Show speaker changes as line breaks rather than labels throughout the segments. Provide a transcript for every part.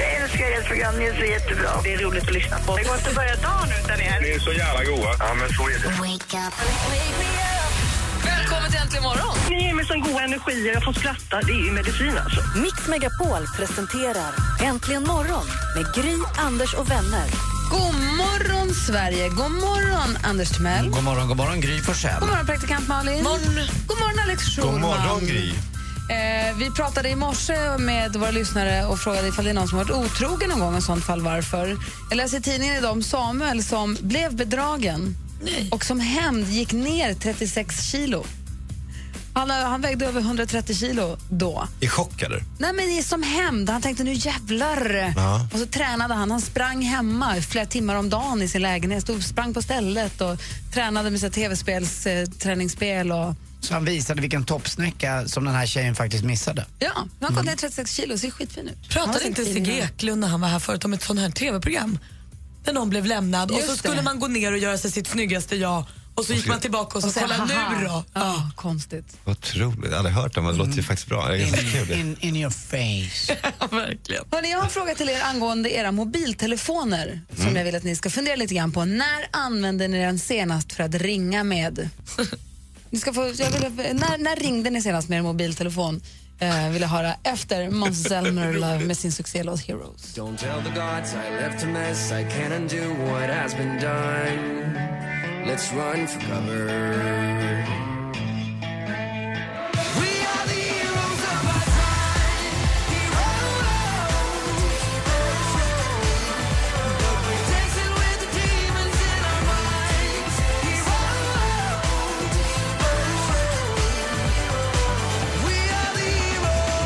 Jag älskar ert program, ni är så jättebra. Det är roligt att lyssna på. Det går inte att börja dagen utan er.
Ni är så jävla goa. Ja, men så är det.
Välkommen till Äntligen morgon!
Ni ger mig sån god energi, jag får skratta. Det är ju medicin alltså.
Mix Megapol presenterar Äntligen morgon med Gry, Anders och vänner.
God morgon, Sverige! God morgon, Anders Timell!
God morgon, god morgon Gry Forssell.
God morgon, praktikant Malin! Morgon. God morgon, Alex Schulman!
God morgon Gry.
Eh, vi pratade i morse med våra lyssnare och frågade ifall det är någon som har varit otrogen någon gång och i sånt fall varför. Jag läser i tidningen idag om Samuel som blev bedragen och som hämnd gick ner 36 kilo. Han, eh, han vägde över 130 kilo då.
I chock eller?
Nej men det är som hämnd. Han tänkte nu jävlar.
Ja.
Och så tränade han. Han sprang hemma i flera timmar om dagen i sin lägenhet. Stod, sprang på stället och tränade med sitt tv-spels eh, träningsspel. Och,
Så han visade vilken toppsnäcka som den här tjejen faktiskt missade.
ja, han har gått ner 36 kilo och ser skitfin ut. Han
Pratade
ser
inte
fin
Sigge
ut.
Eklund när han var här förut om ett sånt här tv-program? Där någon blev lämnad
Just
och så skulle
det.
man gå ner och göra sig sitt snyggaste jag och så gick man tillbaka och så,
Och så,
kolla
haha.
nu då.
Ja, konstigt.
Otroligt, jag har aldrig hört det, men det
Mm.
låter ju faktiskt bra. Det är ganska kul.
In,
det.
in, in your face.
Ja, verkligen.
Hörrni, jag har en fråga till er angående era mobiltelefoner som jag vill att ni ska fundera lite grann på. När använde ni den senast för att ringa med? Ni ska få, jag vill, när, när ringde ni senast med er mobiltelefon? Eh, vill jag höra efter Måns Zelmer Love med sin succélåt Heroes.
Don't tell the gods I left a mess I can't undo what has been done Let's run for cover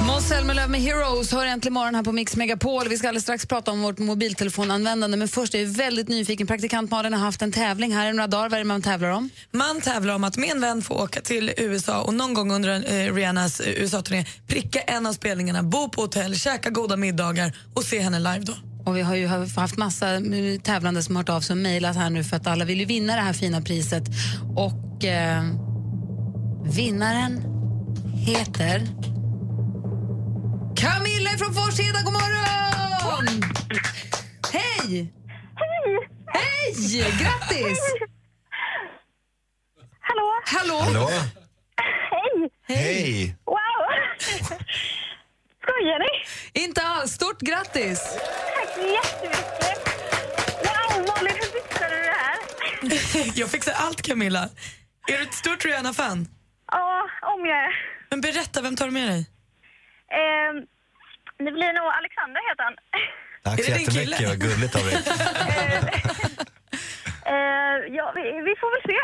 Måns Zelmerlöw med Heroes hör äntligen morgon här på Mix Megapol. Vi ska alldeles strax prata om vårt mobiltelefonanvändande men först är jag väldigt nyfiken. Praktikant Malin har haft en tävling här i några dagar. Vad är det man tävlar om?
Man tävlar om att med en vän få åka till USA och någon gång under eh, Rihannas eh, USA-turné pricka en av spelningarna, bo på hotell, käka goda middagar och se henne live då.
Och vi har ju haft massa mm, tävlande som hört av sig och mejlat här nu för att alla vill ju vinna det här fina priset. Och eh, vinnaren heter Camilla från Forsheda, god morgon! Hej! Hej! Grattis!
Hallå?
Hallå?
Hallå?
Hej!
Hej!
Wow! Skojar ni?
Inte alls, stort grattis!
Tack så jättemycket! Wow, Malin, hur fixade du det här?
Jag fixar allt Camilla. Är du ett stort Rihanna-fan?
Ja, om jag är.
Men berätta, vem tar du med dig?
Ehm, det blir nog Alexander heter han.
Tack så
Är det din kille?
jättemycket, vad gulligt av dig.
Ehm, ja, vi, vi får väl se.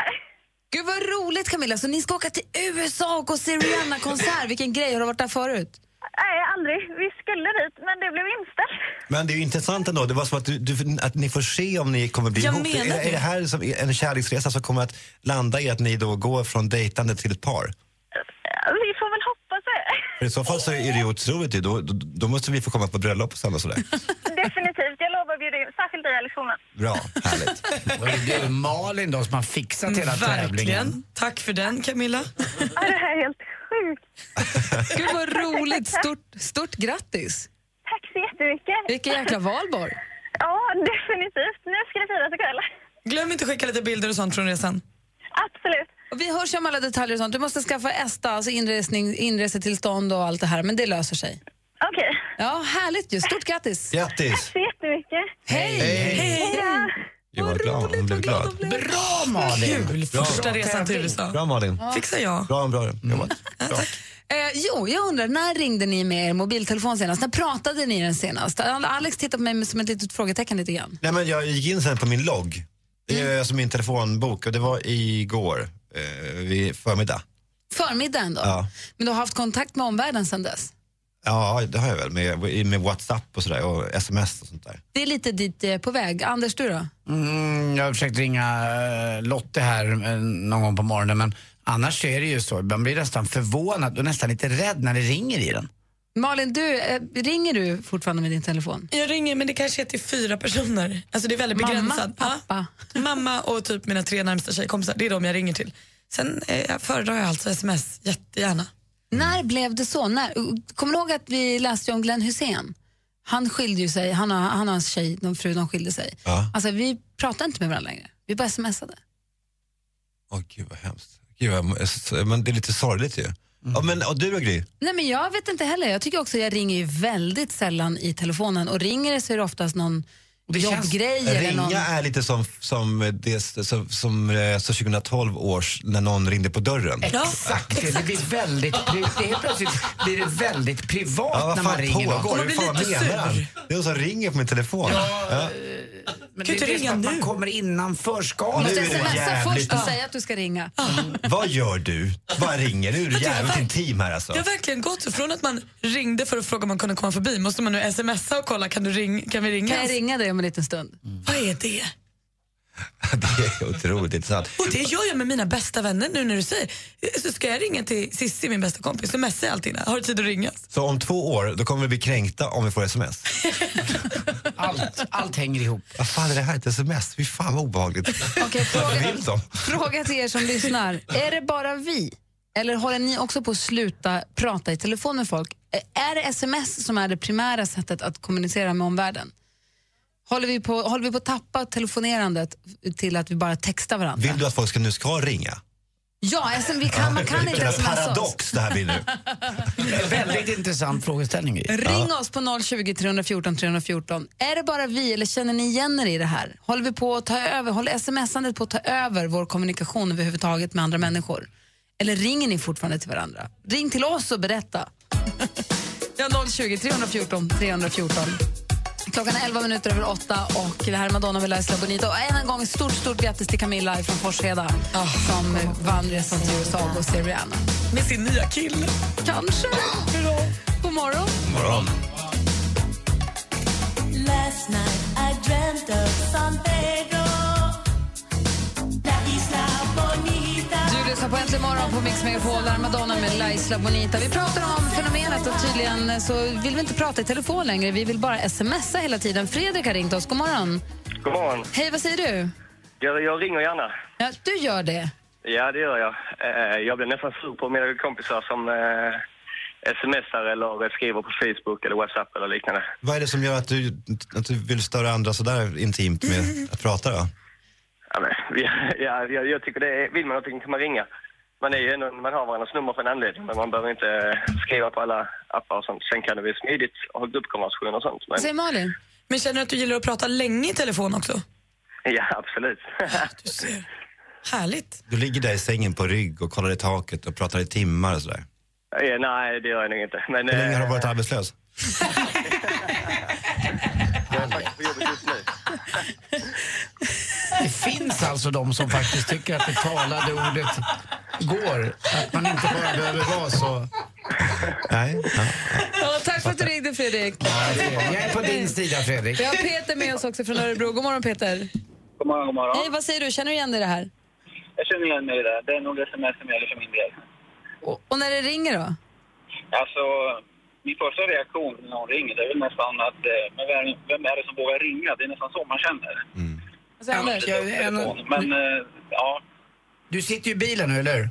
Gud vad roligt Camilla, så ni ska åka till USA och gå och se Rihanna-konsert. Vilken grej, har du varit där förut?
Nej, aldrig. Vi skulle dit, men det blev inställt.
Men det är ju intressant ändå, det var som att, du, du, att ni får se om ni kommer bli
Jag
ihop. Är,
menar
är det här som en kärleksresa som kommer att landa i att ni då går från dejtande till ett par?
Ja, Vi får väl hoppas det.
För I så fall så är det ju otroligt ju. Då, då, då måste vi få komma på bröllop och sen och sådär.
Definitivt. Jag lovar att bjuda in, särskilt dig Alex Schulman.
Bra, härligt.
Och det är ju Malin då som har fixat hela tävlingen.
Mm, Verkligen. Tack för den Camilla.
Ja, det här är helt sjukt.
Gud vad roligt, stort, stort grattis!
Tack så jättemycket.
Vilken jäkla valborg!
Ja, definitivt. Nu ska det firas ikväll.
Glöm inte att skicka lite bilder och sånt från resan.
Absolut.
Och vi hörs om alla detaljer och sånt. Du måste skaffa ESTA, alltså inresning, inresetillstånd och allt det här, men det löser sig.
Okej.
Ja, härligt ju. Stort grattis!
Grattis!
Så jättemycket.
Hej!
Hej!
Ja.
Jag var glad, hon blev glad.
Bra Malin!
Kul! Första resan till USA.
Bra Malin,
Fixar jag. Mm.
bra, bra jobbat. Bra.
Eh, jo, jag undrar, när ringde ni med er mobiltelefon senast? När pratade ni den senast? Alex tittar på mig som ett litet frågetecken lite grann.
Nej, men jag gick in sen på min logg, mm. alltså min telefonbok, och det var igår eh, vid förmiddag.
Förmiddagen då?
Ja.
Men du har haft kontakt med omvärlden sedan dess?
Ja, det har jag väl. Med, med WhatsApp och sådär och sms och sånt där.
Det är lite dit eh, på väg. Anders, du då?
Mm, jag har försökt ringa eh, Lotte här eh, någon gång på morgonen men annars så är det ju så, man blir nästan förvånad och nästan lite rädd när det ringer i den.
Malin, du, eh, ringer du fortfarande med din telefon?
Jag ringer men det kanske är till fyra personer. Alltså det är väldigt
Mamma,
begränsat. Mamma, pappa. Mamma och typ mina tre närmsta tjejkompisar. Det är de jag ringer till. Sen eh, jag föredrar jag alltså sms jättegärna.
När blev det så? När, uh, kommer du ihåg att vi läste ju om Glenn Hussein? Han skilde ju sig, han och, han och hans tjej, de fru, de skilde sig.
Ja.
Alltså vi pratade inte med varandra längre, vi bara smsade.
Åh gud vad hemskt. Gud, vad- men det är lite sorgligt ju. Ja, men, och du då Gry?
Nej men jag vet inte heller, jag tycker också jag ringer ju väldigt sällan i telefonen och ringer det så är det oftast någon jobbgrej eller
Ringa
någon...
är lite som, som, det, som, som eh, så 2012 års när någon ringde på dörren.
Exakt, det blir väldigt, pri- det är helt plötsligt blir det väldigt privat
Ja, vad
när man
fan
ringer någon.
pågår? Hur fan menar han? Det är någon som ringer på min telefon.
Ja,
Ja.
Men det är ju det att man kommer innanför skalet.
Måste jag smsa först och
Ja.
säga att du ska ringa?
Vad gör du? Vad ringer du? Du är jävligt intim här alltså.
Det har verkligen gått från att man ringde för att fråga om man kunde komma förbi måste man nu smsa och kolla kan, du ring, kan vi ringa?
Kan jag ringa dig om en liten stund?
Mm.
Vad är det?
Det är otroligt intressant.
Och det gör jag med mina bästa vänner nu när du säger. Så ska jag ringa till Sissi, min bästa kompis, så messar jag alltid. Har du tid att ringa?
Så om två år, då kommer vi bli kränkta om vi får sms.
Allt, allt hänger ihop.
Vad fan är det här? Ett sms? Fy fan vad obehagligt.
Okej,
Vad
fråga,
vill de?
Fråga till er som lyssnar. Är det bara vi? Eller håller ni också på att sluta prata i telefon med folk? Ä- Är det sms som är det primära sättet att kommunicera med omvärlden? Håller vi på, håller vi på att tappa telefonerandet f- till att vi bara textar varandra?
Vill du att folk ska, nu ska ringa?
Ja, SM, vi kan, man kan inte
Vilken
smsa oss.
paradox det här blir nu.
Väldigt intressant frågeställning. Gry.
Ring oss på 020 314 314. Är det bara vi eller känner ni igen er i det här? Håller vi på att ta över, håller smsandet på att ta över vår kommunikation överhuvudtaget med andra människor? Eller ringer ni fortfarande till varandra? Ring till oss och berätta. Ja, 020 314 314. Klockan är 11 minuter över 8 och det här är Madonna med Laisla Bonita. Och än en gång stort, stort grattis till Camilla från Forsheda som vann resan till USA och ser Rihanna.
Med sin nya kille.
Kanske. God morgon.
Morgon.
Last night I dreamt of San Pedro. La isla bonita.
Du lyssnar på Äntligen morgon på Mix Megapol, där Madonna med Laisla Bonita. Vi pratar om fenomenet och tydligen så vill vi inte prata i telefon längre. Vi vill bara smsa hela tiden. Fredrik har ringt oss. God morgon.
God morgon.
Hej, vad säger du?
Jag, jag ringer gärna.
Ja, du gör det.
Ja, det gör jag. Eh, Jag blir nästan sur på mina kompisar som eh, smsar eller skriver på Facebook eller WhatsApp eller liknande.
Vad är det som gör att du, att du vill störa andra sådär intimt med att prata då?
Ja, men, ja, jag, jag tycker det är, vill man någonting kan man ringa. Man, är ju ändå, man har varandras nummer för en anledning, men man behöver inte eh, skriva på alla appar och sånt. Sen kan det bli smidigt att ha gruppkonversationer och sånt.
Alltså-
Men,
Malin.
Men känner du att du gillar att prata länge i telefon också?
ja, absolut.
Du ser. Härligt.
Du ligger där i sängen på rygg och kollar i taket och pratar i timmar och sådär.
Ja, Eh, Nej, det gör jag nog inte. Men,
Hur länge har
eh,
du varit arbetslös?
Jag är faktiskt på jobbet just nu.
Det finns alltså de som faktiskt tycker att det talade ordet går. Att man inte bara behöver vara så...
Nej. Ja.
Ja, tack för att du ringde, Fredrik.
Jag är på din sida, Fredrik.
Vi har Peter med oss också från Örebro. God morgon, Peter.
God morgon, god morgon.
Hej, vad säger du? Känner du igen dig i det här?
Jag känner igen mig i det. Det är nog det som är som gäller för min del.
Och, och när det ringer då?
Alltså, min första reaktion när någon ringer det är väl nästan att eh, men vem, vem är det som vågar ringa? Det är nästan så man känner.
Mm. Anders, jag- en-
Men eh, ja,
Du sitter ju i bilen nu, eller hur?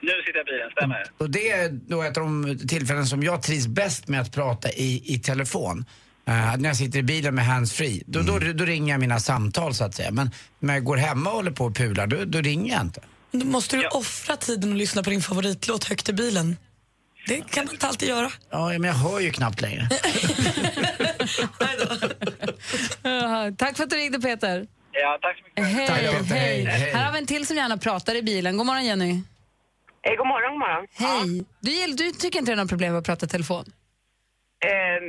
nu sitter jag i bilen, stämmer.
Och det är då ett av de tillfällen som jag trivs bäst med att prata i, i telefon. Eh, när jag sitter i bilen med handsfree, då, då, då ringer jag mina samtal så att säga. Men när jag går hemma och håller på och pular, då, då ringer jag inte.
Då måste du offra tiden och lyssna på din favoritlåt högt i bilen. Det kan man inte alltid göra.
Ja, men jag hör ju knappt längre.
Ja, Tack för att du ringde, Peter.
Ja, tack så mycket.
Hej,
Tack, Peter.
hej.
Hej, hej.
Här har vi en till som gärna pratar i bilen. God morgon, Jenny.
Eh, god morgon, god morgon.
Hej. Du, gill- du tycker inte det är något problem att prata i telefon?
Ehm,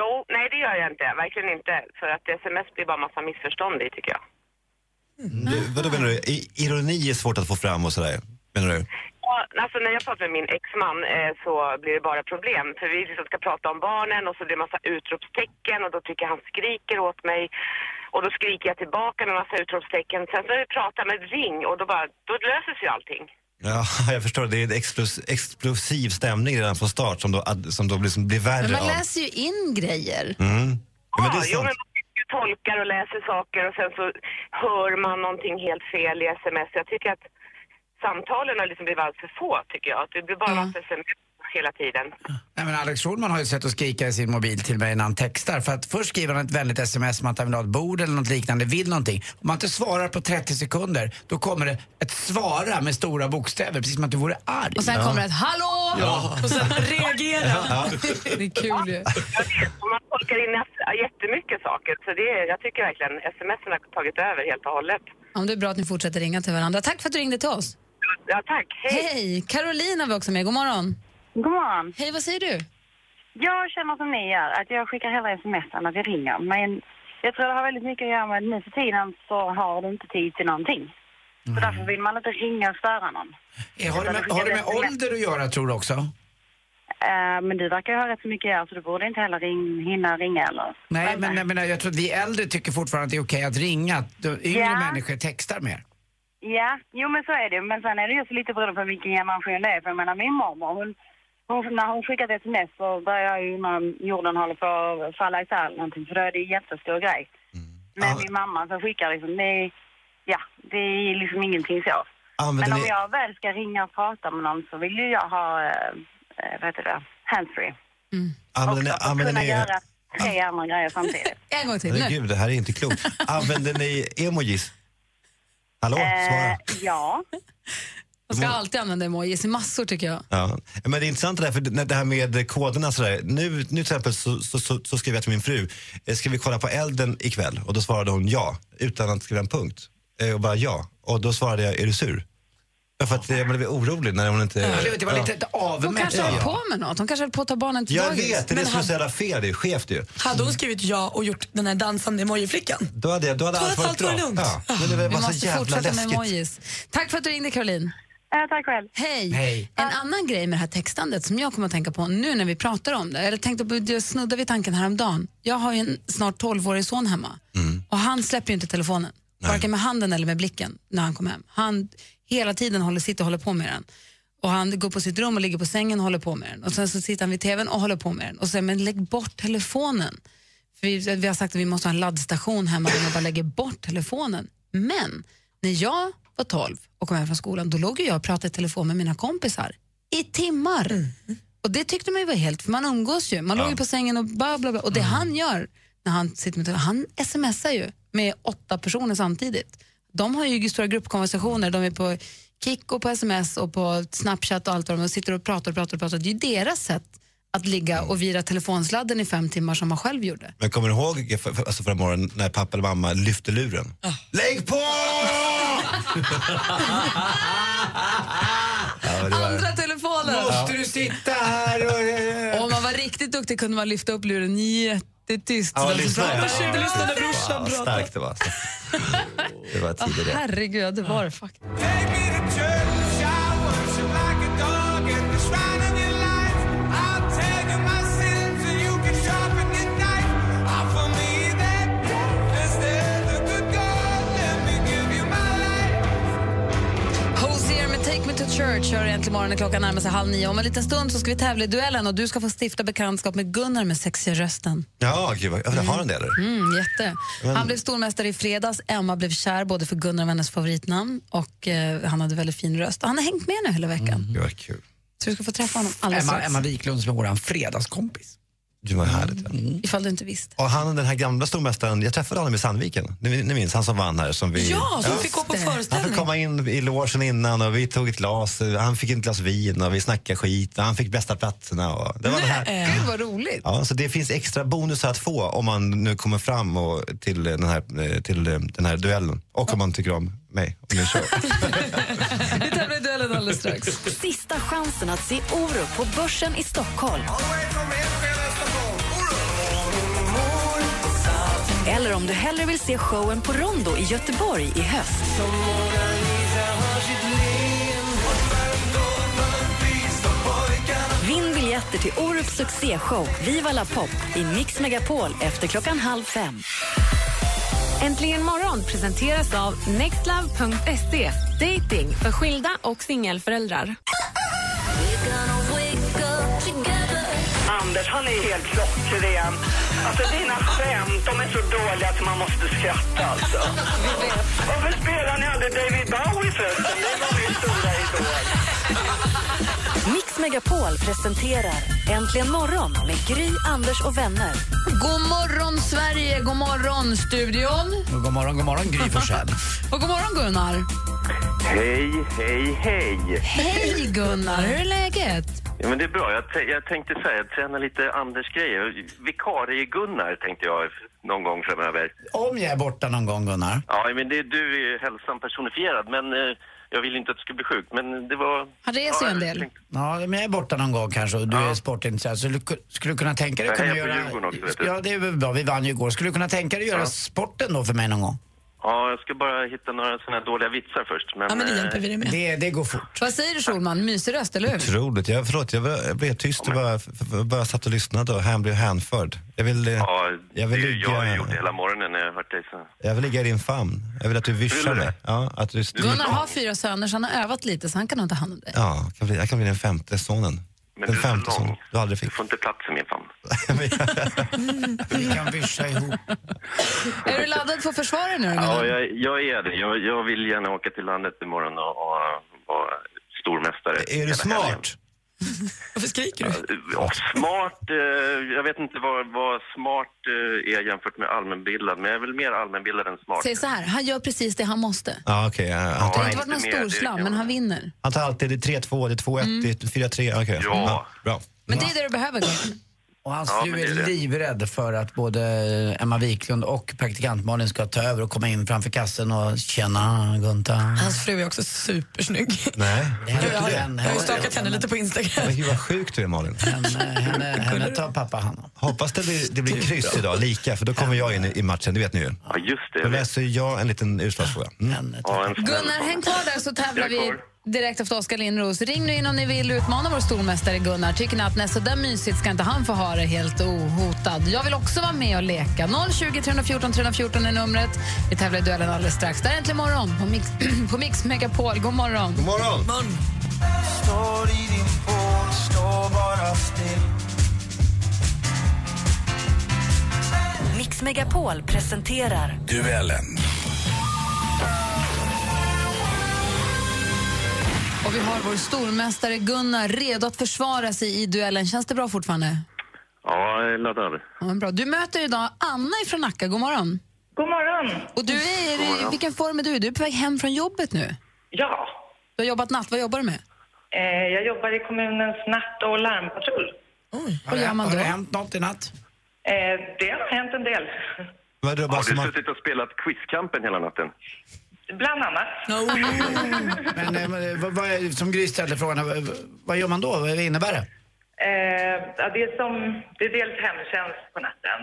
jo, nej det gör jag inte. Verkligen inte. För att sms blir bara massa missförstånd i tycker jag.
Mm. Du, vadå menar du? I, ironi är svårt att få fram och sådär, menar du?
Ja, alltså när jag pratar med min exman eh, så blir det bara problem. För vi liksom ska prata om barnen och så blir det massa utropstecken och då tycker jag han skriker åt mig. Och då skriker jag tillbaka med massa utropstecken. Sen så när vi pratar med ring och då bara, då löser sig allting.
Ja, jag förstår. Det är en explos- explosiv stämning redan från start som då, ad- som då liksom blir värre
Men man
av.
läser ju in grejer.
Mm. Ja, men det
Ja,
är
jo,
sant.
men man tolkar och läser saker och sen så hör man någonting helt fel i sms. Jag tycker att samtalen har liksom blivit alltför få, tycker jag. Att Det blir bara massa sms hela tiden.
Nej, men Alex Schulman har ju sett att skrika i sin mobil till mig när han textar. För att först skriver han ett vänligt sms om att han vill ha ett bord eller något liknande, vill någonting. Om man inte svarar på 30 sekunder, då kommer det ett svara med stora bokstäver, precis som att du vore arg.
Och sen kommer det ett
hallå!
Ja.
Och sen reagera.
Ja.
Det är kul ju.
Och man tolkar in jätte- jättemycket saker. Så det, är- jag tycker verkligen sms har tagit över helt och hållet.
Ja, men det är bra att ni fortsätter ringa till varandra. Tack för att du ringde till oss.
Ja, tack.
Hej. Carolina var också med. God morgon.
God morgon.
Hej, vad säger du?
Jag känner som ni gör, att jag skickar hellre sms än att jag ringer. Men jag tror det har väldigt mycket att göra med att nu för tiden så har du inte tid till någonting. Så
Mm.
därför vill man inte ringa och störa någon.
Eh, Har det med, har det med ålder att göra, tror du också?
Eh, men du verkar ju ha rätt så mycket att göra så du borde inte heller ring, hinna ringa eller...
Nej, men jag, menar, jag tror att vi äldre tycker fortfarande att det är okej att ringa. att de Yngre
Ja.
människor textar mer.
Ja, jo men så är det. Men sen är det ju så lite beroende på vilken generation det är. För jag menar min mormor, hon, hon, när hon skickade ett sms så börjar jag ju när jorden håller på att falla isär eller någonting. För då är det en jättestor grej. Mm. Men min mamma som skickar liksom, det är, ja, det är liksom ingenting så.
Använder
men om
ni-
jag väl ska ringa och prata med någon så vill ju jag ha, eh, eh, vad heter det, handsfree.
Använder ni... Använder
Kunna
ni
göra tre andra grejer samtidigt.
en gång
herregud, det här är inte klokt. Använder ni emojis? Hallå,
Eh,
svara.
ja.
Man ska alltid använda emojis i massor tycker jag.
Ja. Men det är intressant det där, för det det här med koderna sådär. Nu, nu till exempel så, så, så, så skrev jag till min fru, eh, ska vi kolla på elden ikväll? Och då svarade hon ja, utan att skriva en punkt. Eh, Och bara ja. Och då svarade jag, är du sur? Ja, För att eh, jag blev orolig när hon inte...
Det var lite ett
Hon
avmätt.
kanske höll
Ja.
på med något. Hon kanske höll på att ta barnen till
Jag
dagis.
vet, det är det som är så jävla fel, det är skevt ju. Mm.
Hade hon skrivit ja och gjort den här dansande emojiflickan?
Då hade, jag- då hade
Då
allt
hade
varit
allt
bra.
varit lugnt.
Ja. Men det var
Vi
så
måste
jävla
fortsätta med
läskigt.
emojis. Tack för att du ringde Caroline.
Ja, tack själv.
Hej.
Hej.
En annan grej med det här textandet som jag kommer att tänka på nu när vi pratar om det, eller tänkte på, jag snuddade vid tanken häromdagen. Jag har ju en snart 12-årig son hemma
Mm.
och han släpper ju inte telefonen, varken med handen eller med blicken när han kommer hem. Han hela tiden håller, sitter och håller på med den. Och han går på sitt rum och ligger på sängen och håller på med den. Och sen så sitter han vid tvn och håller på med den. Och så säger jag, men lägg bort telefonen. För vi, vi har sagt att vi måste ha en laddstation hemma där man bara lägger bort telefonen. Men när jag var 12 och kom hem från skolan, då låg ju jag och pratade i telefon med mina kompisar i timmar. Och det tyckte man ju var helt, för man umgås ju. Man låg ju på sängen och bla bla bla. Och det han gör när han sitter med telefonen, han smsar ju med åtta personer samtidigt. De har ju stora gruppkonversationer, de är på Kik och på sms och på Snapchat och allt vad de är och sitter och pratar och pratar och pratar. Det är ju deras sätt att ligga och vira telefonsladden i fem timmar som man själv gjorde.
Men kommer du ihåg för, för, alltså förra morgonen när pappa eller mamma lyfte luren? Lägg på! Ja, det var-
Andra telefonen.
Måste
du sitta här och...
eh,
Om man var riktigt duktig kunde man lyfta upp luren jättetyst. Alltså,
Ja,
Så
lyssna.
pratade-
Ja,
lyssnade
precis.
brorsan
Ja,
prata.
Starkt det var. alltså. Det var
Ah,
tidigare.
herregud, det var det faktiskt. Hosier med Take Me To Church hör egentligen morgonen klockan närmar sig halv nio. Om en liten stund så ska vi tävla i duellen och du ska få stifta bekantskap med Gunnar med sexiga rösten.
Ja, gud vad... Har han det eller?
Mm, jätte.
Men-
Han blev stormästare i fredags, Emma blev kär både för Gunnar och hennes favoritnamn och eh, han hade väldigt fin röst. Han har hängt med nu hela veckan.
Det var kul.
Så du ska få träffa honom alldeles
Emma,
strax.
Emma Wiklund som är vår fredagskompis.
Det var härligt. ja.
Mm.
Ifall du inte visste.
Och han den här gamla stormästaren, jag träffade honom i Sandviken. Ni, ni minns han som vann här? Som vi,
Ja, som fick gå på
Han fick
föreställning.
komma in i logen innan och vi tog ett glas. Han fick ett glas vin och vi snackade skit. Och han fick bästa platserna. Och det var det här.
Gud vad roligt.
Ja, så det finns extra bonusar att få om man nu kommer fram och, till, eh, den här, eh, till eh, den här duellen. Och om man tycker om mig. Om ni kör.
Vi tävlar i duellen alldeles strax.
Sista chansen att se Orup på Börsen i Stockholm. Eller om du hellre vill se showen på Rondo i Göteborg i höst. biljetter till årets succéshow Viva La Pop i Mix Megapol efter klockan halv fem.
Äntligen morgon presenteras av nextlove.se. Dating för skilda och singelföräldrar.
Anders, han är helt klockren. Alltså dina skämt, de är så dåliga att man måste skratta alltså. Varför spelar ni aldrig David Bowie förresten? Det var min stora idol.
Mix Megapol presenterar Äntligen morgon med Gry, Anders och vänner.
God morgon, Sverige! God morgon, studion!
God morgon, god morgon Gry Forssell.
Och god morgon, Gunnar!
Hej, hej, hej.
Hej, Gunnar! Hur är läget?
Ja, men det är bra. Jag, t- jag tänkte så här, träna lite Anders-grejer. Vikarie-Gunnar tänkte jag någon gång framöver.
Om jag är borta någon gång Gunnar.
Ja, men det, du är ju hälsan personifierad, men eh, jag vill inte att du skulle bli sjuk. Men det var...
Han reser ju en del.
Ja, men jag är borta någon gång kanske och du är sportintresserad. Så du ku- skulle du kunna tänka dig
Jag
att kunna
hejar på
göra...
Djurgården också, vet du.
Ja, det är väl bra. Vi vann ju igår. Skulle du kunna tänka dig att göra
Ja.
sporten då för mig någon gång?
Ja, jag ska bara hitta några såna här dåliga vitsar först. Men, eh,
Det, det går fort.
Vad säger du, Schulman? Mysig röst, eller hur?
Otroligt. Jag, förlåt, jag var- jag blev tyst och bara, f- f- bara satt och lyssnade och han blev hänförd. Jag vill, eh,
Ja,
jag vill,
det är ju jag har
ligga,
gjort det hela morgonen när jag har hört dig. Så.
jag vill ligga i din famn. Jag vill att du
Vill
vischar
du
mig.
det?
Ja, att du, du,
Gunnar har fyra söner, så han har övat lite, så han kan nog ta hand om dig.
ja, jag kan bli, jag kan bli den femte sonen. den femte sonen. Du aldrig fick. Du
får inte plats i min famn.
Vi kan vischa ihop.
Är du laddad för att försvara dig nu, då,
Ja,
Gunnar?
jag, jag är det. Jag, jag vill gärna åka till landet imorgon och, och vara stormästare.
Är du smart?
Varför skriker du? smart, eh, jag vet inte vad, vad smart eh, är jämfört med allmänbildad, men jag är väl mer allmänbildad än smart.
Säg så här, han gör precis det han måste.
Ja, okej. ja, han,
Det
tar,
har inte varit någon
inte mer, det
storslam,
kan
men han vinner.
han tar alltid det är 3-2, det är 2-1,
Mm.
det är 4-3. Okej. Ja. Bra.
Men det är det du behöver, Gunnar.
Och hans
Ja,
fru
men det
är,
är det.
livrädd för att både Emma Wiklund och praktikant Malin ska ta över och komma in framför kassen och tjena Gunta.
Hans fru är också supersnygg.
Nej.
Jag har, jag har ju stalkat henne lite på Instagram.
Men gud vad sjuk du är Malin.
Mm.
Henne, henne tar pappa hand om.
Hoppas det blir, det blir kryss idag, lika, för då kommer jag in i- i matchen, det vet ni ju.
Ja, just det.
Då läser jag en liten utslagsfråga. Mm.
Gunnar, häng kvar där så tävlar vi direkt efter Oskar Lindros. Ring nu in om ni vill utmana vår stormästare Gunnar. Tycker ni att nej, så där mysigt ska inte han få ha det helt ohotad? Jag vill också vara med och leka. 020 314 314 är numret. Vi tävlar i duellen alldeles strax. Där är Äntligen morgon på Mix, på Mix Megapol. God morgon.
God morgon.
Står i din pool, står bara still
Mix Megapol presenterar
Duellen.
Och vi har vår stormästare Gunnar redo att försvara sig i duellen. Känns det bra fortfarande?
Ja, jag laddar.
Ja, men bra. Du möter idag Anna ifrån Nacka. God morgon.
God morgon.
Och du är,
God morgon.
vilken form är du i? Du är på väg hem från jobbet nu.
Ja.
Du har jobbat natt. Vad jobbar du med?
Eh, jag jobbar i kommunens natt och larmpatrull.
Har, det, har det hänt något i natt?
Eh, det har hänt en del.
Har du suttit och spelat Quizkampen hela natten?
Bland annat.
Men, eh, men, eh, vad, vad, är- som Gry ställde frågan, eh, vad, vad gör man då? Vad innebär det?
Eh, ja, det, är som, det är dels hemtjänst på natten.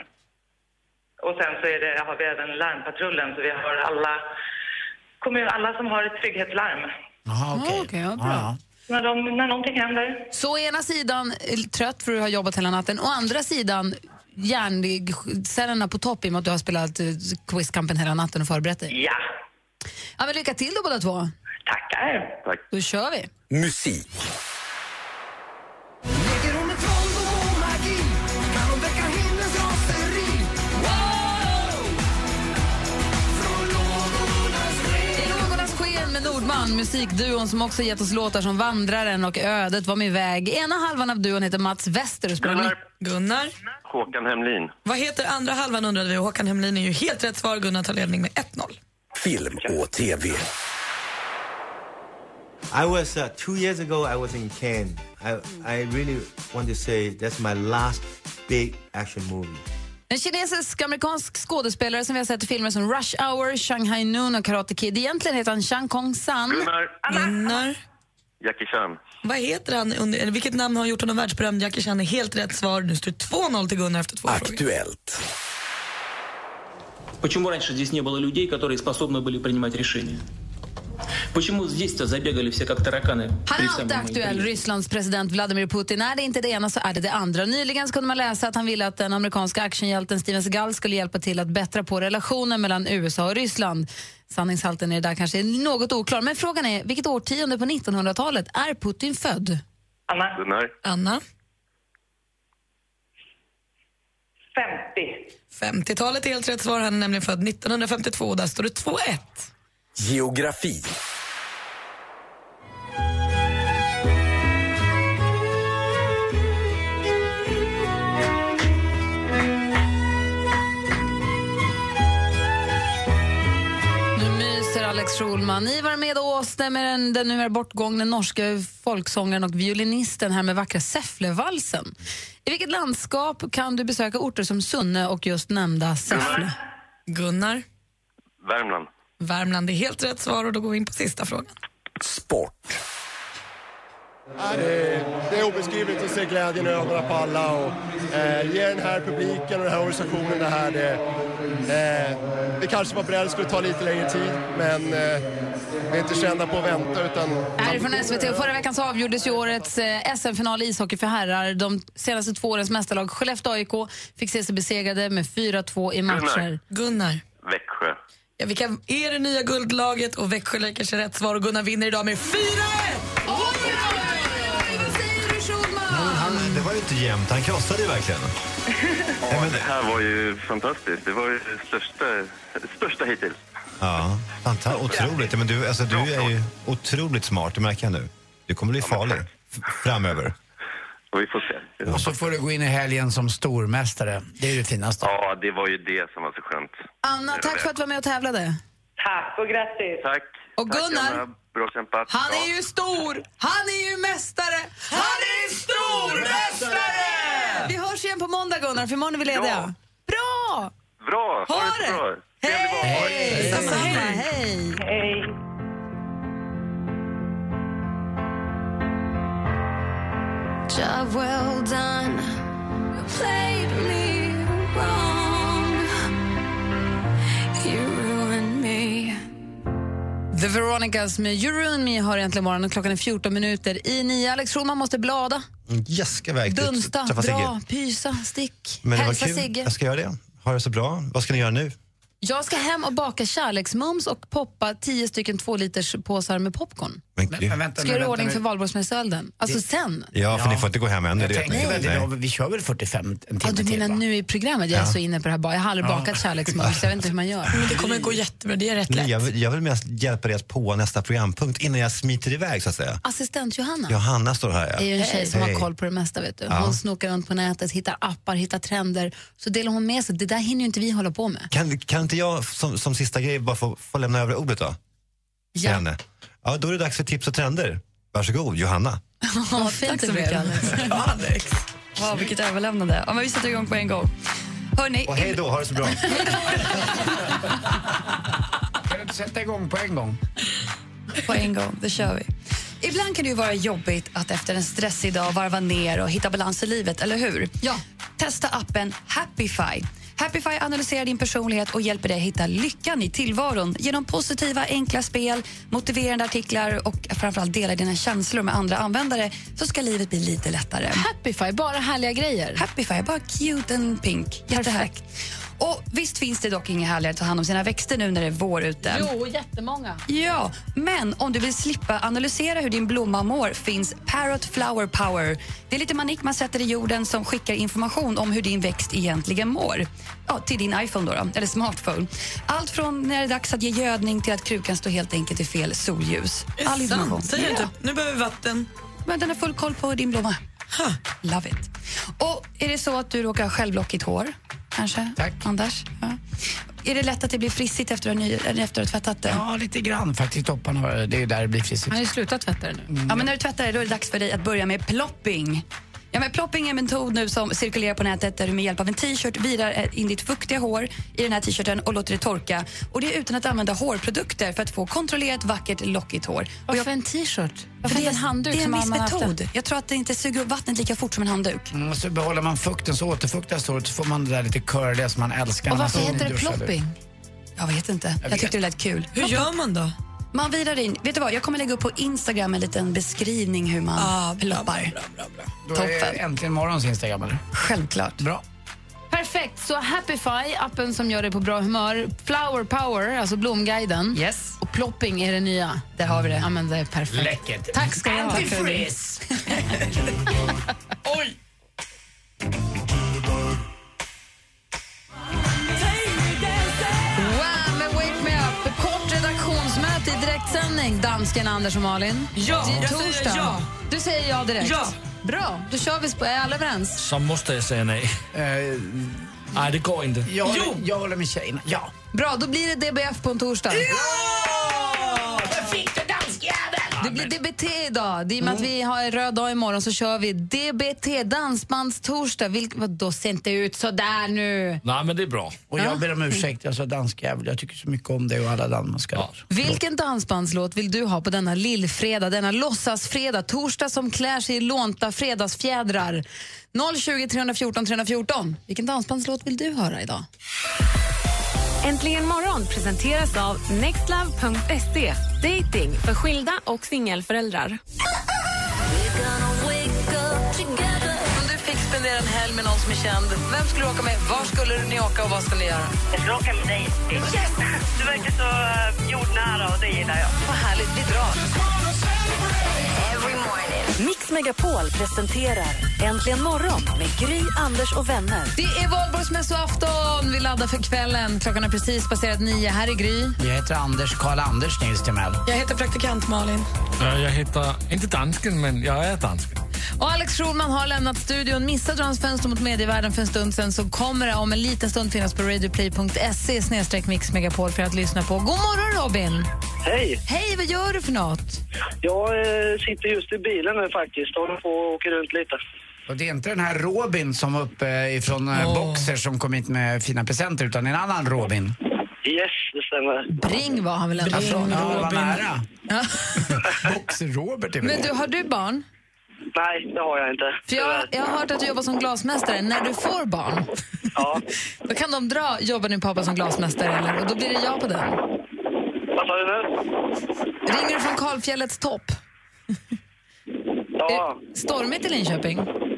Och sen så är det, har vi även larmpatrullen, så vi har alla, kommun, alla som har ett trygghetslarm.
Jaha, okej.
Ja, Ah, okej, ja, bra.
När, de, när någonting händer.
Så å ena sidan eh, trött för du har jobbat hela natten, å andra sidan hjärncellerna på topp i och med att du har spelat eh, quizkampen hela natten och förberett dig.
Ja.
ja men lycka till då båda två.
Tackar.
Tack.
Då kör vi.
Musik.
Lägger hon ett rondo och magi kan hon väcka himlens raseri. Wow! Från lågornas
Det är Lågornas sken med Nordman, musikduon som också gett oss låtar som Vandraren och Ödet var min väg. Ena halvan av duon heter Mats Wester och spelar
Gunnar. Gunnar.
Håkan Hemlin.
Vad heter andra halvan undrade vi och Håkan Hemlin är ju helt rätt svar. Gunnar tar ledning med 1-0.
Film och TV. I was uh, two years ago. I was in Cannes. I I really want to say that's my last big action movie.
En kinesisk-amerikansk skådespelare som vi har sett i filmer som Rush Hour, Shanghai Noon och Karate Kid. Egentligen heter han Chang Kong-san.
Gunnar.
Jackie Chan.
Vad heter han? under- eller Vilket namn har gjort honom världsberömd? Jackie Chan är helt rätt svar. Nu står det 2-0 till Gunnar efter två frågor.
Почему раньше здесь не было людей, которые способны были принимать решения? Почему здесь-то забегали все как тараканы?
Han
при
är alltid
самом моем
aktuell,
приезде?
Rysslands president Vladimir Putin. Är det inte det ena så är det det andra. Nyligen så kunde man läsa att han ville att den amerikanska actionhjälten Steven Seagal skulle hjälpa till att bättra på relationen mellan USA och Ryssland. Sanningshalten är där kanske något oklar. Men frågan är, vilket årtionde på 1900-talet är Putin född?
Anna?
Gunnar?
Anna?
50.
50-talet är helt rätt svar. Han är nämligen född 1952 och där står det 2-1.
Geografi.
Nu myser Alex Schulman. Ni var med och åste med den, den numera bortgångne norske folksångaren och violinisten här med vackra Säfflevalsen. I vilket landskap kan du besöka orter som Sunne och just nämnda Säffle?
Gunnar?
Värmland.
Värmland är helt rätt svar och då går vi in på sista frågan.
Sport.
Ja, Det är, det är obeskrivligt att se glädjen i ögonen på alla och eh, ge den här publiken och den här organisationen det här. Det, eh, vi kanske var beredda att det skulle ta lite längre tid, men eh, vi är inte kända på att vänta utan...
Härifrån SVT. Förra veckan så avgjordes ju årets eh, SM-final i ishockey för herrar. De senaste två årens mästarlag Skellefteå AIK fick se sig besegrade med 4-2 i matcher.
Gunnar. Gunnar.
Växjö.
Ja, vilka är det nya guldlaget och Växjö Lakers är rätt svar och Gunnar vinner idag med 4
Men han, det var ju inte jämnt, han krossade ju verkligen.
Ja, det här var ju fantastiskt. Det var ju det största, största hittills.
Ja, fantastiskt. Otroligt. Men du, alltså, du är ju otroligt smart, det märker jag nu. Du kommer bli farlig f- framöver.
Och vi får se.
Och så får du gå in i helgen som stormästare. Det är det finaste.
Ja, det var ju det som var så skönt.
Anna, tack för att du var med och tävlade.
Tack och grattis.
Tack.
Och
Tack,
Gunnar?
Anna. Bra kämpat.
Han
Ja.
är ju stor! Han är ju mästare! Han är
stormästare!
Vi hörs igen på måndag, Gunnar, för imorgon är vi lediga. Bra!
Bra!
Ha
det så
det!
bra.
Hej! Hej!
Hej!
Job well done. You played me wrong. You ruined me.
The Veronicas med You Ruin Me har egentligen morgon och klockan är 14 minuter i nio. Alex Schulman måste blada,
Yes, ska iväg. till-
dunsta,
träffa Sigge.
dra, pysa, stick,
Men det var
hälsa
kul. Alltså-
Sigge.
Jag ska göra det. Ha det så bra. Vad ska ni göra nu?
Jag ska hem och baka kärleksmums och poppa tio stycken två liters påsar med popcorn.
Men, men vänta
Ska
nu,
göra i
vänta
ordning
nu.
för valborgsmässoelden. Alltså
Det-
sen.
Ja, för ni får inte gå hem än.
Jag
det vet ni.
tänkte väl det.
Nej.
då. Vi kör väl 45 en
Ja,
timme
du
till?
menar
va?
nu i programmet? Jag är
Ja.
så inne på det här. ba- Jag har aldrig
Ja.
bakat kärleksmums. Jag vet inte hur man gör.
Men det kommer att gå jättebra, det är rätt
Nej,
lätt.
jag, vill, jag vill mest hjälpa dig att på nästa programpunkt innan jag smiter iväg så att säga.
Assistent Johanna.
Johanna står här. Ja.
är ju en tjej som
Hej.
har koll på det mesta. Vet du. Hon
Ja.
snokar runt på nätet, hittar appar, hittar trender. Så delar hon med sig. Det där hinner ju inte vi hålla på med.
Kan, kan inte jag som, som sista grej bara få, få lämna över ordet då? Till
Ja.
Henne. ja, då är det dags för tips och trender. Varsågod, Johanna.
Ja, fint
Tack
det
så
blev.
mycket,
Alex. Wow, vilket överlämnande. Ja, men vi sätter igång på en gång. Hörrni,
Och hej
in-
då, ha det så bra. Kan du inte sätta igång på en gång?
på en gång. Det kör vi. Ibland kan det ju vara jobbigt att efter en stressig dag varva ner och hitta balans i livet, eller hur? Ja. Testa appen Happify. Happify analyserar din personlighet och hjälper dig hitta lyckan i tillvaron genom positiva, enkla spel, motiverande artiklar och framförallt dela dina känslor med andra användare så ska livet bli lite lättare.
Happify, bara härliga grejer.
Happify, bara cute and pink. Jättehärligt. Och visst finns det dock inget härligare att ta hand om sina växter nu när det är vår ute.
Jo, jättemånga.
Ja, men om du vill slippa analysera hur din blomma mår finns Parrot Flower Power. Det är lite manik man sätter i jorden som skickar information om hur din växt egentligen mår. Ja, till din iPhone då, då eller smartphone. Allt från när det är dags att ge gödning till att krukan står helt enkelt i fel solljus.
Är det
All information.
sant? Säger du inte, nu behöver vi vatten.
Men den har full koll på din blomma. Love it. Och är det så att du råkar ha självlockigt hår? Kanske? Tack. Anders? Ja. Är det lätt att det blir frissigt efter att ha ny- eller efter att ha tvättat det?
Ja, lite grann faktiskt. Topparna, har- det är ju där det blir frissigt.
har ju slutat tvätta det nu.
Ja, men när du tvättar dig, då är det dags för dig att börja med plopping. Ja, men plopping är en metod nu som cirkulerar på nätet där du med hjälp av en t-shirt virar eh, in ditt fuktiga hår i den här t-shirten och låter det torka. Och det är utan att använda hårprodukter för att få kontrollerat, vackert, lockigt hår. Och jag,
Varför en t-shirt?
för
Varför
det,
inte en
är,
handduk
det är en
som
viss
man har haft
metod.
en-
Jag tror att det inte suger upp vattnet lika fort som en handduk.
Mm, och så behåller man fukten så återfuktas håret så får man det där lite curliga som man älskar. när man står och duschar.
Jag vet inte. Jag, tyckte det lät kul.
Hur gör man då?
Man virar in. Vet du vad, jag kommer lägga upp på Instagram en liten beskrivning hur man ploppar.
Då är äntligen morgons Instagram, eller?
Självklart.
Bra.
Perfekt, så Happify, appen som gör dig på bra humör. Flower Power, alltså Blomguiden.
Yes.
Och Plopping är det nya.
Där har vi det.
Ja, men det är perfekt.
Läckert.
Tack ska du ha.
Antifreeze.
Oj! Wow, med Wake Me Up. Kort redaktionsmöte i direktsändning. Dansken Anders och Malin.
Ja,
det är
jag säger
torsdag.
ja.
Du säger ja direkt?
Ja.
Bra, då kör vi. sp- Är alla överens?
Så måste jag säga nej. nej, det går inte.
Eh, Jag, jag håller med tjejerna. Ja.
Bra, då blir det DBF på en torsdag. Ja! Där fick du danskjäveln! Det blir DBT idag. Det är med att
Mm.
vi har en röd dag imorgon så kör vi DBT, dansbandstorsdag. Vilk, vadå, ser inte ut sådär nu?
Nej, men det är bra.
Och jag ber om ursäkt, jag sa danskjävel. Jag tycker så mycket om dig och alla danskar.
Vilken dansbandslåt vill du ha på denna lillfredag, denna låtsasfredag, torsdag som klär sig i lånta fredagsfjädrar? 020 314 314. Vilken dansbandslåt vill du höra idag?
Äntligen morgon presenteras av nextlove.se. Dating för skilda och singelföräldrar.
Om du fick spendera en helg med någon som är känd, vem skulle du åka med? Var skulle ni åka och vad skulle ni göra?
Jag skulle åka med dig. Yes! Du verkar så eh, jordnära och det gillar jag.
Vad härligt, vi drar.
Mix Megapol presenterar Äntligen morgon med Gry, Anders och vänner.
Det är valborgsmässoafton! Vi laddar för kvällen. Klockan är precis passerat nio. Här är Gry.
Jag heter Anders, Karl Anders Nils Timell.
Jag heter praktikant Malin.
Eh, Jag heter, inte dansken, men jag är dansken.
Och Alex Schulman har lämnat studion. Missade du hans fönster mot medievärlden för en stund sen så kommer det om en liten stund finnas på radioplay.se snedstreck mixmegapol för att lyssna på. God morgon Robin!
Hej!
Hej, vad gör du för något?
Jag eh, sitter just i bilen nu faktiskt. Håller på och åker runt lite.
Och det är inte den här Robin som var uppe ifrån oh. Boxer som kom hit med fina presenter utan en annan Robin.
Yes, det stämmer.
Bring var han väl ändå från?
Ja, vad nära.
Ja.
Boxer Robert är
Men du, har du barn?
Nej, det har jag inte.
För jag, jag har hört att du jobbar som glasmästare. När du får barn,
Ja.
då kan de dra “Jobbar din pappa som glasmästare?” eller? och då blir det ja på den.
Vad sa du nu?
Ringer du från Kalfjällets topp?
Ja.
Stormigt i Linköping?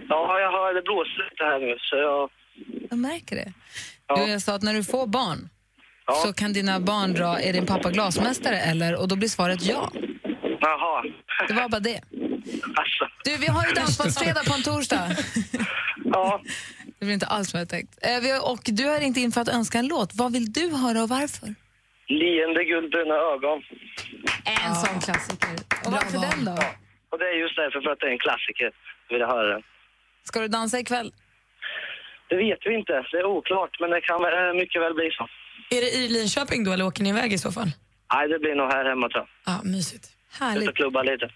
Ja, jag har det blåser lite här nu så jag...
Jag märker det. Du, jag sa att när du får barn
Ja.
så kan dina barn dra “Är din pappa glasmästare?” eller? och då blir svaret ja.
Jaha.
Det var bara det.
Alltså.
Du, vi har ju dansbandsfredag på en torsdag.
Ja.
Det blir inte alls vad jag tänkt. Eh, vi har, och du har ringt in för att önska en låt. Vad vill du höra och varför?
Leende guldbruna ögon.
En sån klassiker. Och varför den då?
Och det är just därför för att det är en klassiker. Jag vill höra den.
Ska du dansa ikväll?
Det vet vi inte. Det är oklart, men det kan eh, mycket väl bli så.
Är det i Linköping då eller åker ni iväg i så fall?
Nej, det blir nog här hemma tror jag.
Ja, mysigt.
Ut och klubba lite.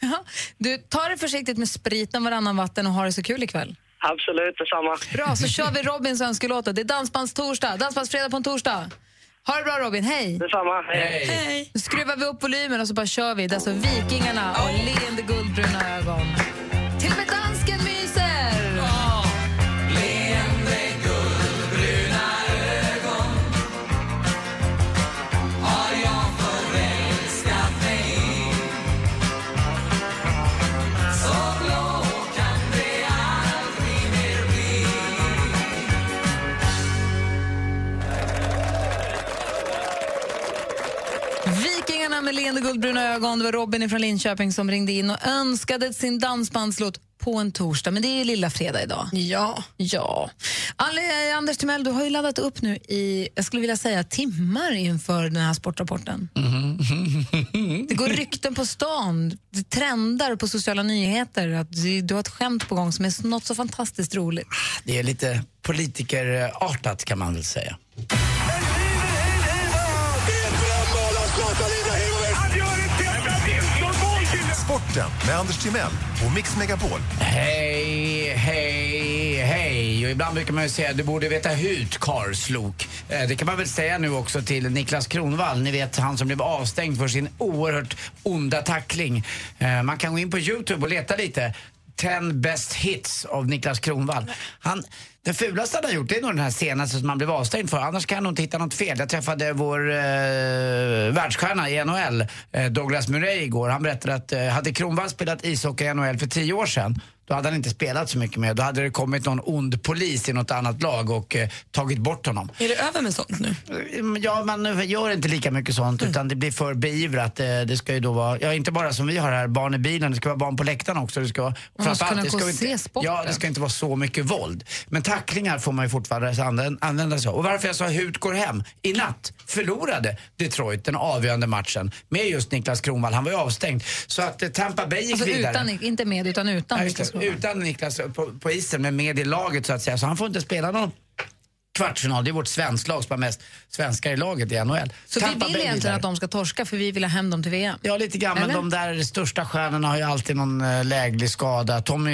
Ja. Du, tar det försiktigt med spriten, varannan vatten och har det så kul ikväll.
Absolut, detsamma.
Bra, så kör vi Robins önskelåta. Det är dansbandstorsdag, dansbandsfredag på en torsdag. Ha det bra Robin, hej!
Detsamma,
hej! hej. Nu skruvar vi upp volymen och så bara kör vi. Det är alltså Vikingarna och leende guldbruna ögon. Till och med dansken myser! Vikingarna med leende guldbruna ögon. Det var Robin från Linköping som ringde in och önskade sin dansbandslåt på en torsdag, men det är ju lilla fredag idag.
Ja.
Ja. Alle- eh, Anders Timell, du har ju laddat upp nu i, jag skulle vilja säga timmar inför den här sportrapporten. Det går rykten på stan, det trendar på sociala nyheter att du, du har ett skämt på gång som är något så fantastiskt roligt.
Det är lite politikerartat kan man väl säga.
Sporten med Anders Timell och Mix Megapol.
Hej, hej, hej. Och ibland brukar man ju säga du borde veta hut, karlslok. Eh, Det kan man väl säga nu också till Niklas Kronwall. Ni vet han som blev avstängd för sin oerhört onda tackling. Eh, Man kan gå in på Youtube och leta lite. 10 best hits av Niklas Kronwall. Han, den fulaste han har gjort det är nog den här senaste som han blev avstängd för. Annars kan han nog inte hitta något fel. Jag träffade vår eh, världsstjärna i NHL, eh, Douglas Murray, igår. Han berättade att eh, hade Kronwall spelat ishockey i NHL för tio år sedan då hade han inte spelat så mycket mer. Då hade det kommit någon ond polis i något annat lag och eh, tagit bort honom.
Är det över med sånt nu?
Ja, man gör inte lika mycket sånt
Mm.
utan det blir för beivrat. Eh, Det ska ju då vara, ja inte bara som vi har här, barn i bilen, det ska vara barn på läktaren också. Det ska, vara- och
Man måste
framförallt,
kunna
det
gå
ska
och
inte-
se sporten.
Ja, det ska inte vara så mycket våld. Men tacklingar får man ju fortfarande använda, använda sig av. Och varför jag sa hut går hem. I natt förlorade Detroit den avgörande matchen med just Niklas Kronwall. Han var ju avstängd. Så att eh, Tampa Bay gick
Alltså
vidare.
utan, inte med, utan utan.
Ja, just det. Utan Niklas på, på isen, men med i laget så att säga. Så han får inte spela någon kvartsfinal. Det är vårt svensklag som har mest svenskar i laget i NHL.
Så vi vill egentligen att de ska torska för vi vill ha hem dem till VM.
Ja, lite Ja, men de där största stjärnorna har ju alltid någon eh, läglig skada. Tommy,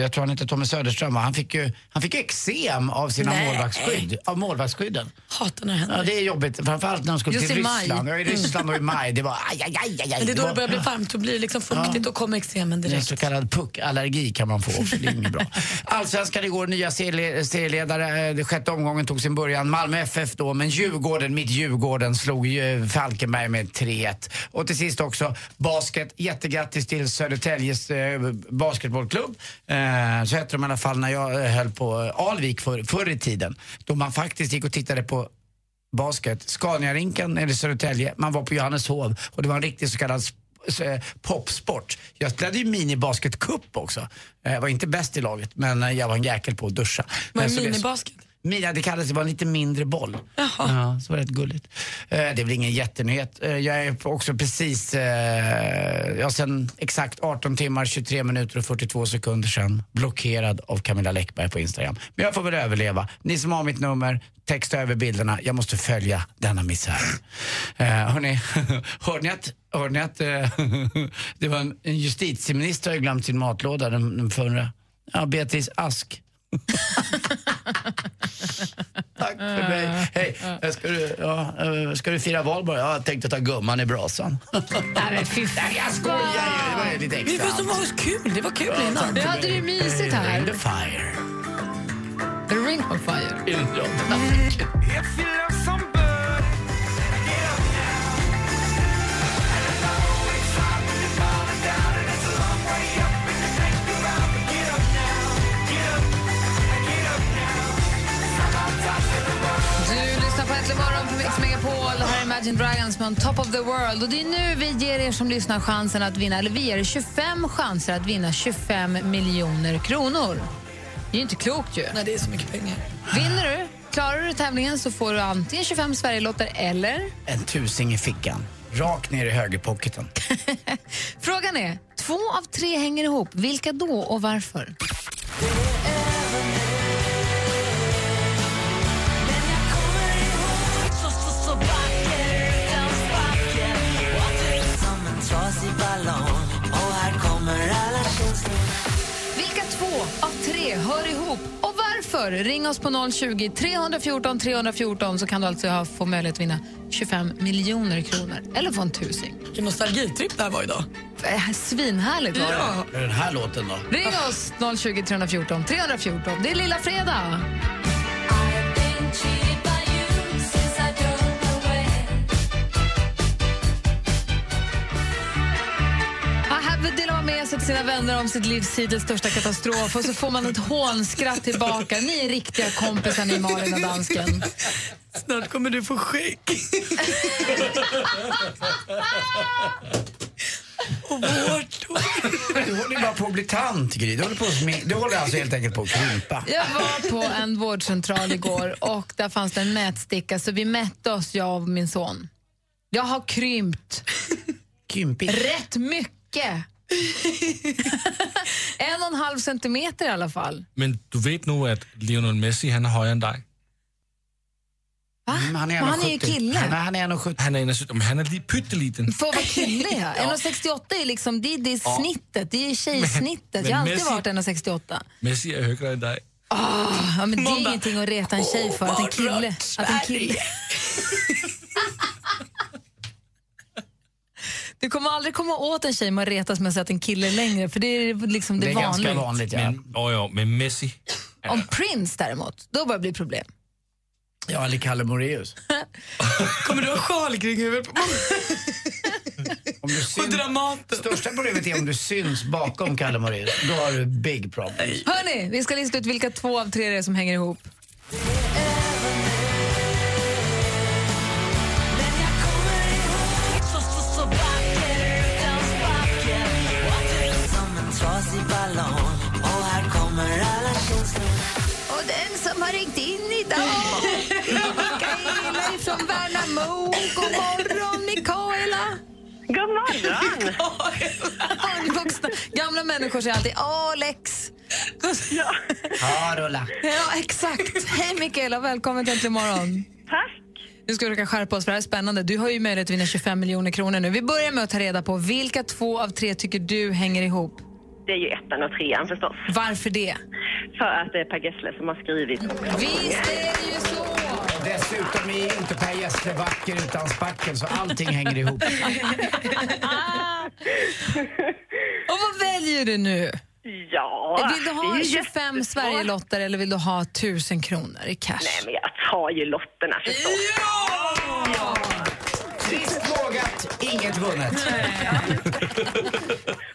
jag tror han heter Tommy Söderström va? han fick ju, han fick ju eksem av sina
Nej.
målvaktsskydd, av målvaktsskydden.
Hatar när det händer.
Ja, det är jobbigt, framförallt när de skulle
Just
till
i maj.
Ryssland. Ja, i Ryssland och i maj. Det var aj, aj, aj, aj, aj.
Men det är då det
var-
börjar bli varmt, då blir det liksom fuktigt, då kommer eksemen
Det är en
direkt.
så kallad puckallergi kan man få också, det är inget bra. Allsvenskan igår, nya serie- serieledare. Eh, Den sjätte omgången tog sin början. Malmö FF då, men Djurgården, mitt Djurgården, slog ju eh, Falkenberg med 3-1. Och till sist också basket. Jättegrattis till Södertäljes eh, basketbollklubb. Eh, så hette de i alla fall när jag eh, höll på eh, Alvik för, förr i tiden. Då man faktiskt gick och tittade på basket. Scaniarinken eller Södertälje, man var på Johanneshov och det var en riktig så kallad sp- s- eh, popsport. Jag spelade ju minibasketcup också. Eh, Jag var inte bäst i laget, men eh, jag var en jäkel på att duscha.
Vad är
Eh, så det-
minibasket?
Mina, det kallades, det var en lite mindre boll. Ja, så var det rätt gulligt. Eh, Det är väl ingen jättenyhet. Eh, Jag är också precis, eh, ja sen exakt 18 timmar, 23 minuter och 42 sekunder sedan blockerad av Camilla Läckberg på Instagram. Men jag får väl överleva. Ni som har mitt nummer, texta över bilderna. Jag måste följa denna misär. Eh, hörni, hörde ni att, hörde ni att eh, det var en, en justitieminister har ju glömt sin matlåda, den, den förra. Ja, Beatrice Ask. Tack för mig. Hej, eh, ska du, ja, eh, ska du fira valborg? Ja, jag tänkte ta gumman i brasan.
Nej men fy fan.
Jag skojar ju, det var ju lite extra.
Vi får som var kul, det var kul
Ja,
innan.
tack.
Vi hade det ju mysigt här.
Ring the fire.
Ring of fire.
Inbrott.
Du lyssnar på Äntligen morgon på Mix Megapol. Det här är Imagine Dragons med On Top of the World. Och det är nu vi ger er som lyssnar chansen att vinna, eller vi ger er 25 chanser att vinna 25 miljoner kronor. Det är ju inte klokt ju.
Nej, det är så mycket pengar.
Vinner du, klarar du tävlingen så får du antingen 25 Sverigelotter eller...
En tusing i fickan. Rakt ner i högerpocketen.
Frågan är, två av tre hänger ihop. Vilka då och varför? Vilka två av tre hör ihop och varför? Ring oss på 020 314 314 så kan du alltså ha- få möjlighet att vinna 25 miljoner kronor eller få en tusing.
Vilken nostalgitripp det här var idag.
Eh, Svinhärligt var det.
Ja.
Den här låten då?
Ring oss 020 314 314. Det är lilla fredag. Ja, Här delar man med sig till sina vänner om sitt livs hittills största katastrof och så får man ett hånskratt tillbaka. Ni är riktiga kompisar ni Malin och dansken.
Snart kommer du få skägg.
Och vårt Du håller ju bara på att bli tant, Gry. Du håller, på att smink- du håller alltså helt enkelt på att krympa.
Jag var på en vårdcentral igår och där fanns det en mätsticka så vi mätte oss, jag och min son. Jag har krympt
Kympig.
rätt mycket. en och en halv centimeter i alla fall.
Men du vet nu att Lionel Messi han är högre än dig.
han
Men Mm, han är ju 1,70. kille. Han är-
han är 1,70.
Han är 1,70. Men han är li- pytteliten.
För att vara kille, ja. 1,68 är liksom, det, är- det är
Ja.
snittet, det är tjejsnittet.
Men- men
jag har alltid varit
Messi-
1,68.
Messi är högre än dig.
Oh, ja, men det är
Måndag.
ingenting att reta en tjej för, att en kille... Att en kille. Du kommer aldrig komma åt en tjej man retas med att säga att en kille är längre, för det är liksom det, vanliga.
Men, ja, ja, men Messi.
Om Prince däremot, då börjar det bli problem.
Ja, eller Kalle Moreus.
Kommer du ha sjal kring huvudet på
Om du syns, Största problemet är om du syns bakom Kalle Moraeus. Då har du big problems.
Hörni, vi ska lista ut vilka två av tre det är som hänger ihop.
Och den som har ringt in idag
Mikaela ifrån Värnamo. God morgon, Mikaela! God morgon! Har ni vuxna? Gamla människor säger alltid Alex. Ja.
Carola.
ja, exakt. Hej Mikaela, välkommen till Äntligen morgon. Tack. Nu ska vi försöka skärpa oss, för det här är spännande. Du har ju möjlighet att vinna 25 miljoner kronor nu. Vi börjar med att ta reda på vilka två av tre tycker du hänger ihop?
Det är ju ettan och trean förstås.
Varför det?
För att det är Per Gessle som har skrivit.
Visst är det ju så!
Dessutom är inte Per Gessle vacker utan spackel, så allting hänger ihop.
Och vad väljer du nu?
Ja,
vill du
det är
ha
ju
25 Sverigelotter eller vill du ha 1000 kronor i cash?
Nej, men jag tar ju lotterna förstås.
Trist vågat, inget vunnet.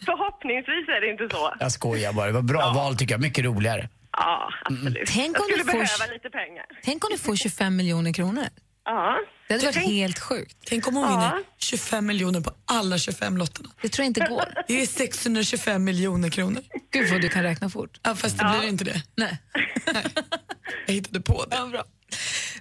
Förhoppningsvis är det inte så.
Jag skojar bara. Det var bra val tycker jag. Mycket roligare.
Ja, absolut.
Tänk
jag
om
skulle
du får-
behöva lite pengar.
Tänk om du får 25 miljoner kronor.
Ja.
Det hade varit helt sjukt.
Tänk om hon vinner 25 miljoner på alla 25 lotterna.
Det tror jag inte går.
Det är 625 miljoner kronor.
Gud vad du kan räkna fort.
Ja, fast det
Ja.
blir inte det.
Nej.
Jag hittade på det.
bra.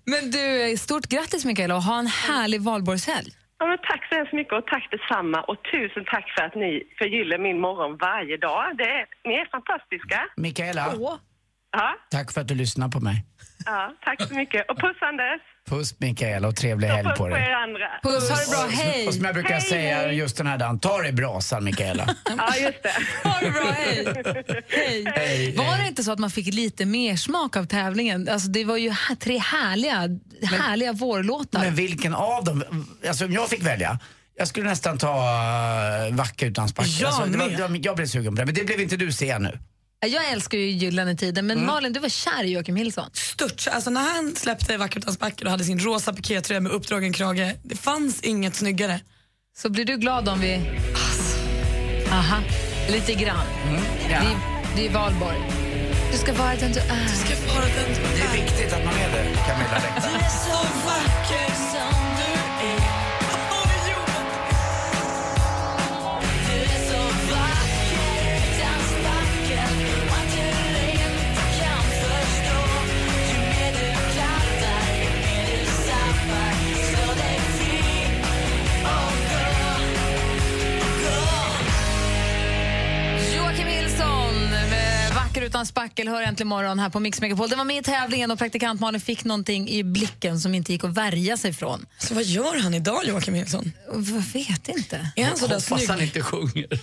Men du, stort grattis Mikaela och ha en härlig valborgshelg.
Ja, men tack så hemskt mycket och tack detsamma. Och tusen tack för att ni förgyller min morgon varje dag. Det är, ni är fantastiska.
Mikaela.
Ja. Ja,
Tack för att du lyssnar på mig.
ja, tack så mycket. Och puss Anders.
Puss Mikaela och trevlig helg
Puss
på
på er
dig.
andra.
Puss, ha det bra. Hej!
Och som jag brukar
Hej,
säga
hej.
just den här dagen, ta dig i brasan Mikaela.
Ja, just det.
Ha det bra, hej! hej. Var det inte så att man fick lite mer smak av tävlingen? Alltså, det var ju här, tre härliga, härliga vårlåtar.
Men vilken av dem? Alltså om jag fick välja. Jag skulle nästan ta uh, Vacka utan spackel.
Jag
alltså, det var,
med.
det var, jag blev sugen på det, men det blev inte du se nu.
Jag älskar ju Gyllene Tiden,
Mm.
men Malin, du var kär i Joakim Hilson.
Stört. Alltså när han släppte Vackert utan spackel och hade sin rosa pikétröja med uppdragen krage, det fanns inget snyggare.
Så blir du glad om vi... Aha, lite grann.
Mm, ja.
det, är- det är valborg. Du ska vara den du är. Du
ska vara den du
är. Det är viktigt att man är det, Camilla Läckberg.
Du är så vacker som du är Oj, jo. Du är så vacker utan spackel och att du inte kan förstå Ju mer du klattar, ju mer du zappar Slå dig fri och gå, gå
Joakim Nilsson, med vacker utan spackel, hör äntligen morgon här på Mix Megapol. Den var med i tävlingen och praktikant Malin fick någonting i blicken som inte gick att värja sig från.
Så Alltså, vad gör han idag, Joakim Nilsson?
Jag vet inte.
Är han så där snygg?
inte sjunger.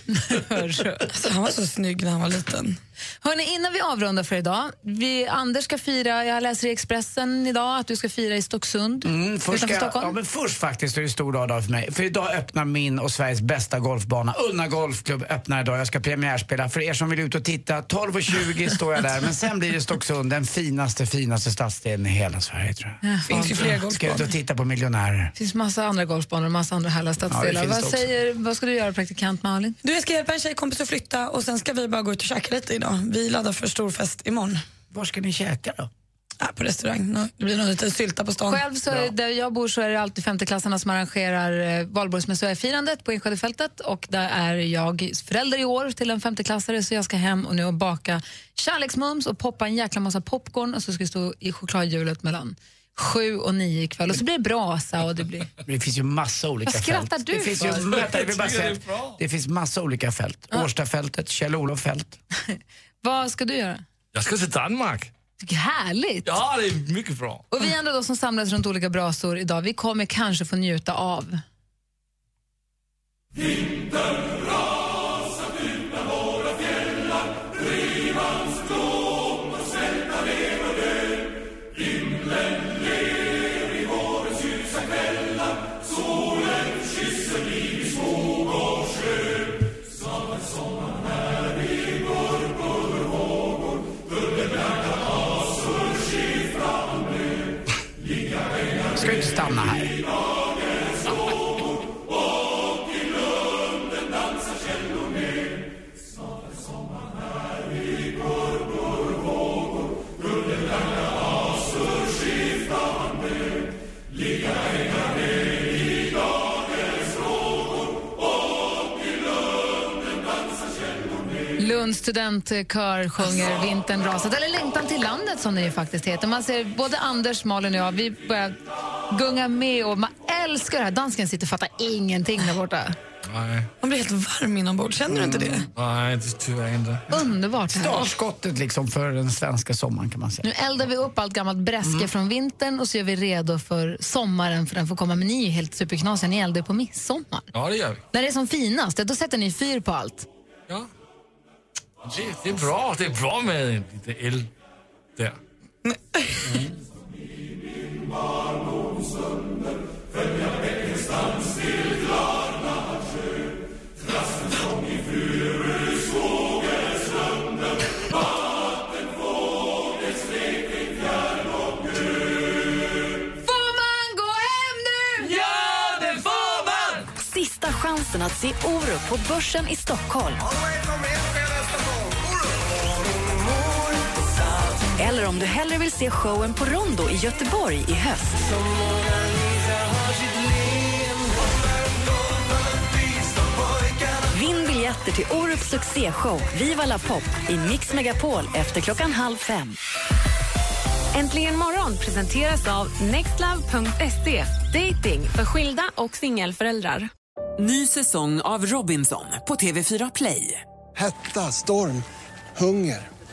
Alltså, han var så snygg när han var liten.
Hörrni, innan vi avrundar för idag. Vi, Anders ska fira, jag läser i Expressen idag att du ska fira i Stocksund
Mm, först, ska
utanför
jag,
Stockholm.
ja, men först faktiskt är det en stor dag idag för mig. För idag öppnar min och Sveriges bästa golfbana, Unna Golfklubb, öppnar idag. Jag ska premiärspela. För er som vill ut och titta, 12.20 står jag där. Men sen blir det Stocksund, den finaste, finaste stadsdelen i hela Sverige tror jag.
Ja, Finns ju fler
Ska
golfbanor.
ut och titta på miljonärer.
Det finns massa andra golfbanor och massa andra härliga
Ja, det
stadsdelar.
finns
vad,
det också.
säger, vad ska du göra praktikant Malin?
Du, jag ska hjälpa en tjejkompis att flytta och sen ska vi bara gå ut och käka lite idag. Vi laddar för stor fest imorgon.
Var ska ni käka då?
Ja, på restaurang. Nå- Det blir någon liten sylta på stan.
Själv så, är- där jag bor så är det alltid femteklassarna som arrangerar eh, valborgsmässofirandet på Enskedefältet och där är jag förälder i år till en femteklassare så jag ska hem och nu och baka kärleksmums och poppa en jäkla massa popcorn och så ska vi stå i chokladhjulet mellan sju och nio ikväll och så blir det brasa och det blir...
Men Det finns ju massa olika
Vad skrattar
fält.
du
det finns ju,
för?
vänta, jag vill bara
Jag tycker
säga
det är bra.
att det finns massa olika fält. Årstafältet, Kjell-Olof fält.
Vad ska du göra?
Jag ska till Danmark.
Tycker Härligt!
Ja, det är mycket bra.
Och vi andra då som samlas runt olika brasor idag, vi kommer kanske få njuta av
Solen kysser livets vågor
Lunds studentkör sjunger Vintern rasat, eller Längtan till landet som den ju faktiskt heter. Man ser både Anders, Malin och jag, vi börjar gunga med och man älskar det här. Dansken sitter och fattar ingenting där borta. Mm.
Nej.
Man blir helt varm inombords, känner du inte det?
Mm,
Nej, det tycker jag inte.
Underbart.
Startskottet liksom för den svenska sommaren kan man säga.
Nu eldar vi upp allt gammalt bräske
Mm.
från vintern och så gör vi redo för sommaren för den får komma. Men ni är ju helt superknasiga, ni eldar ju på midsommar.
Ja, det gör vi.
När det är som finast, ja, då sätter ni fyr på allt.
Ja. Det, det är bra. Det är bra med en lite eld där.
Får man gå hem nu? Ja, det får man!
Sista chansen att se Orup på Börsen i Stockholm. Eller om du hellre vill se showen på Rondo i Göteborg i höst. Vinn biljetter till Orups succéshow Viva La Pop i Mix Megapol efter klockan halv fem.
Äntligen morgon presenteras av nextlove.se. Dating för skilda och singelföräldrar.
Ny säsong av Robinson på TV4 Play.
Hetta, storm, hunger.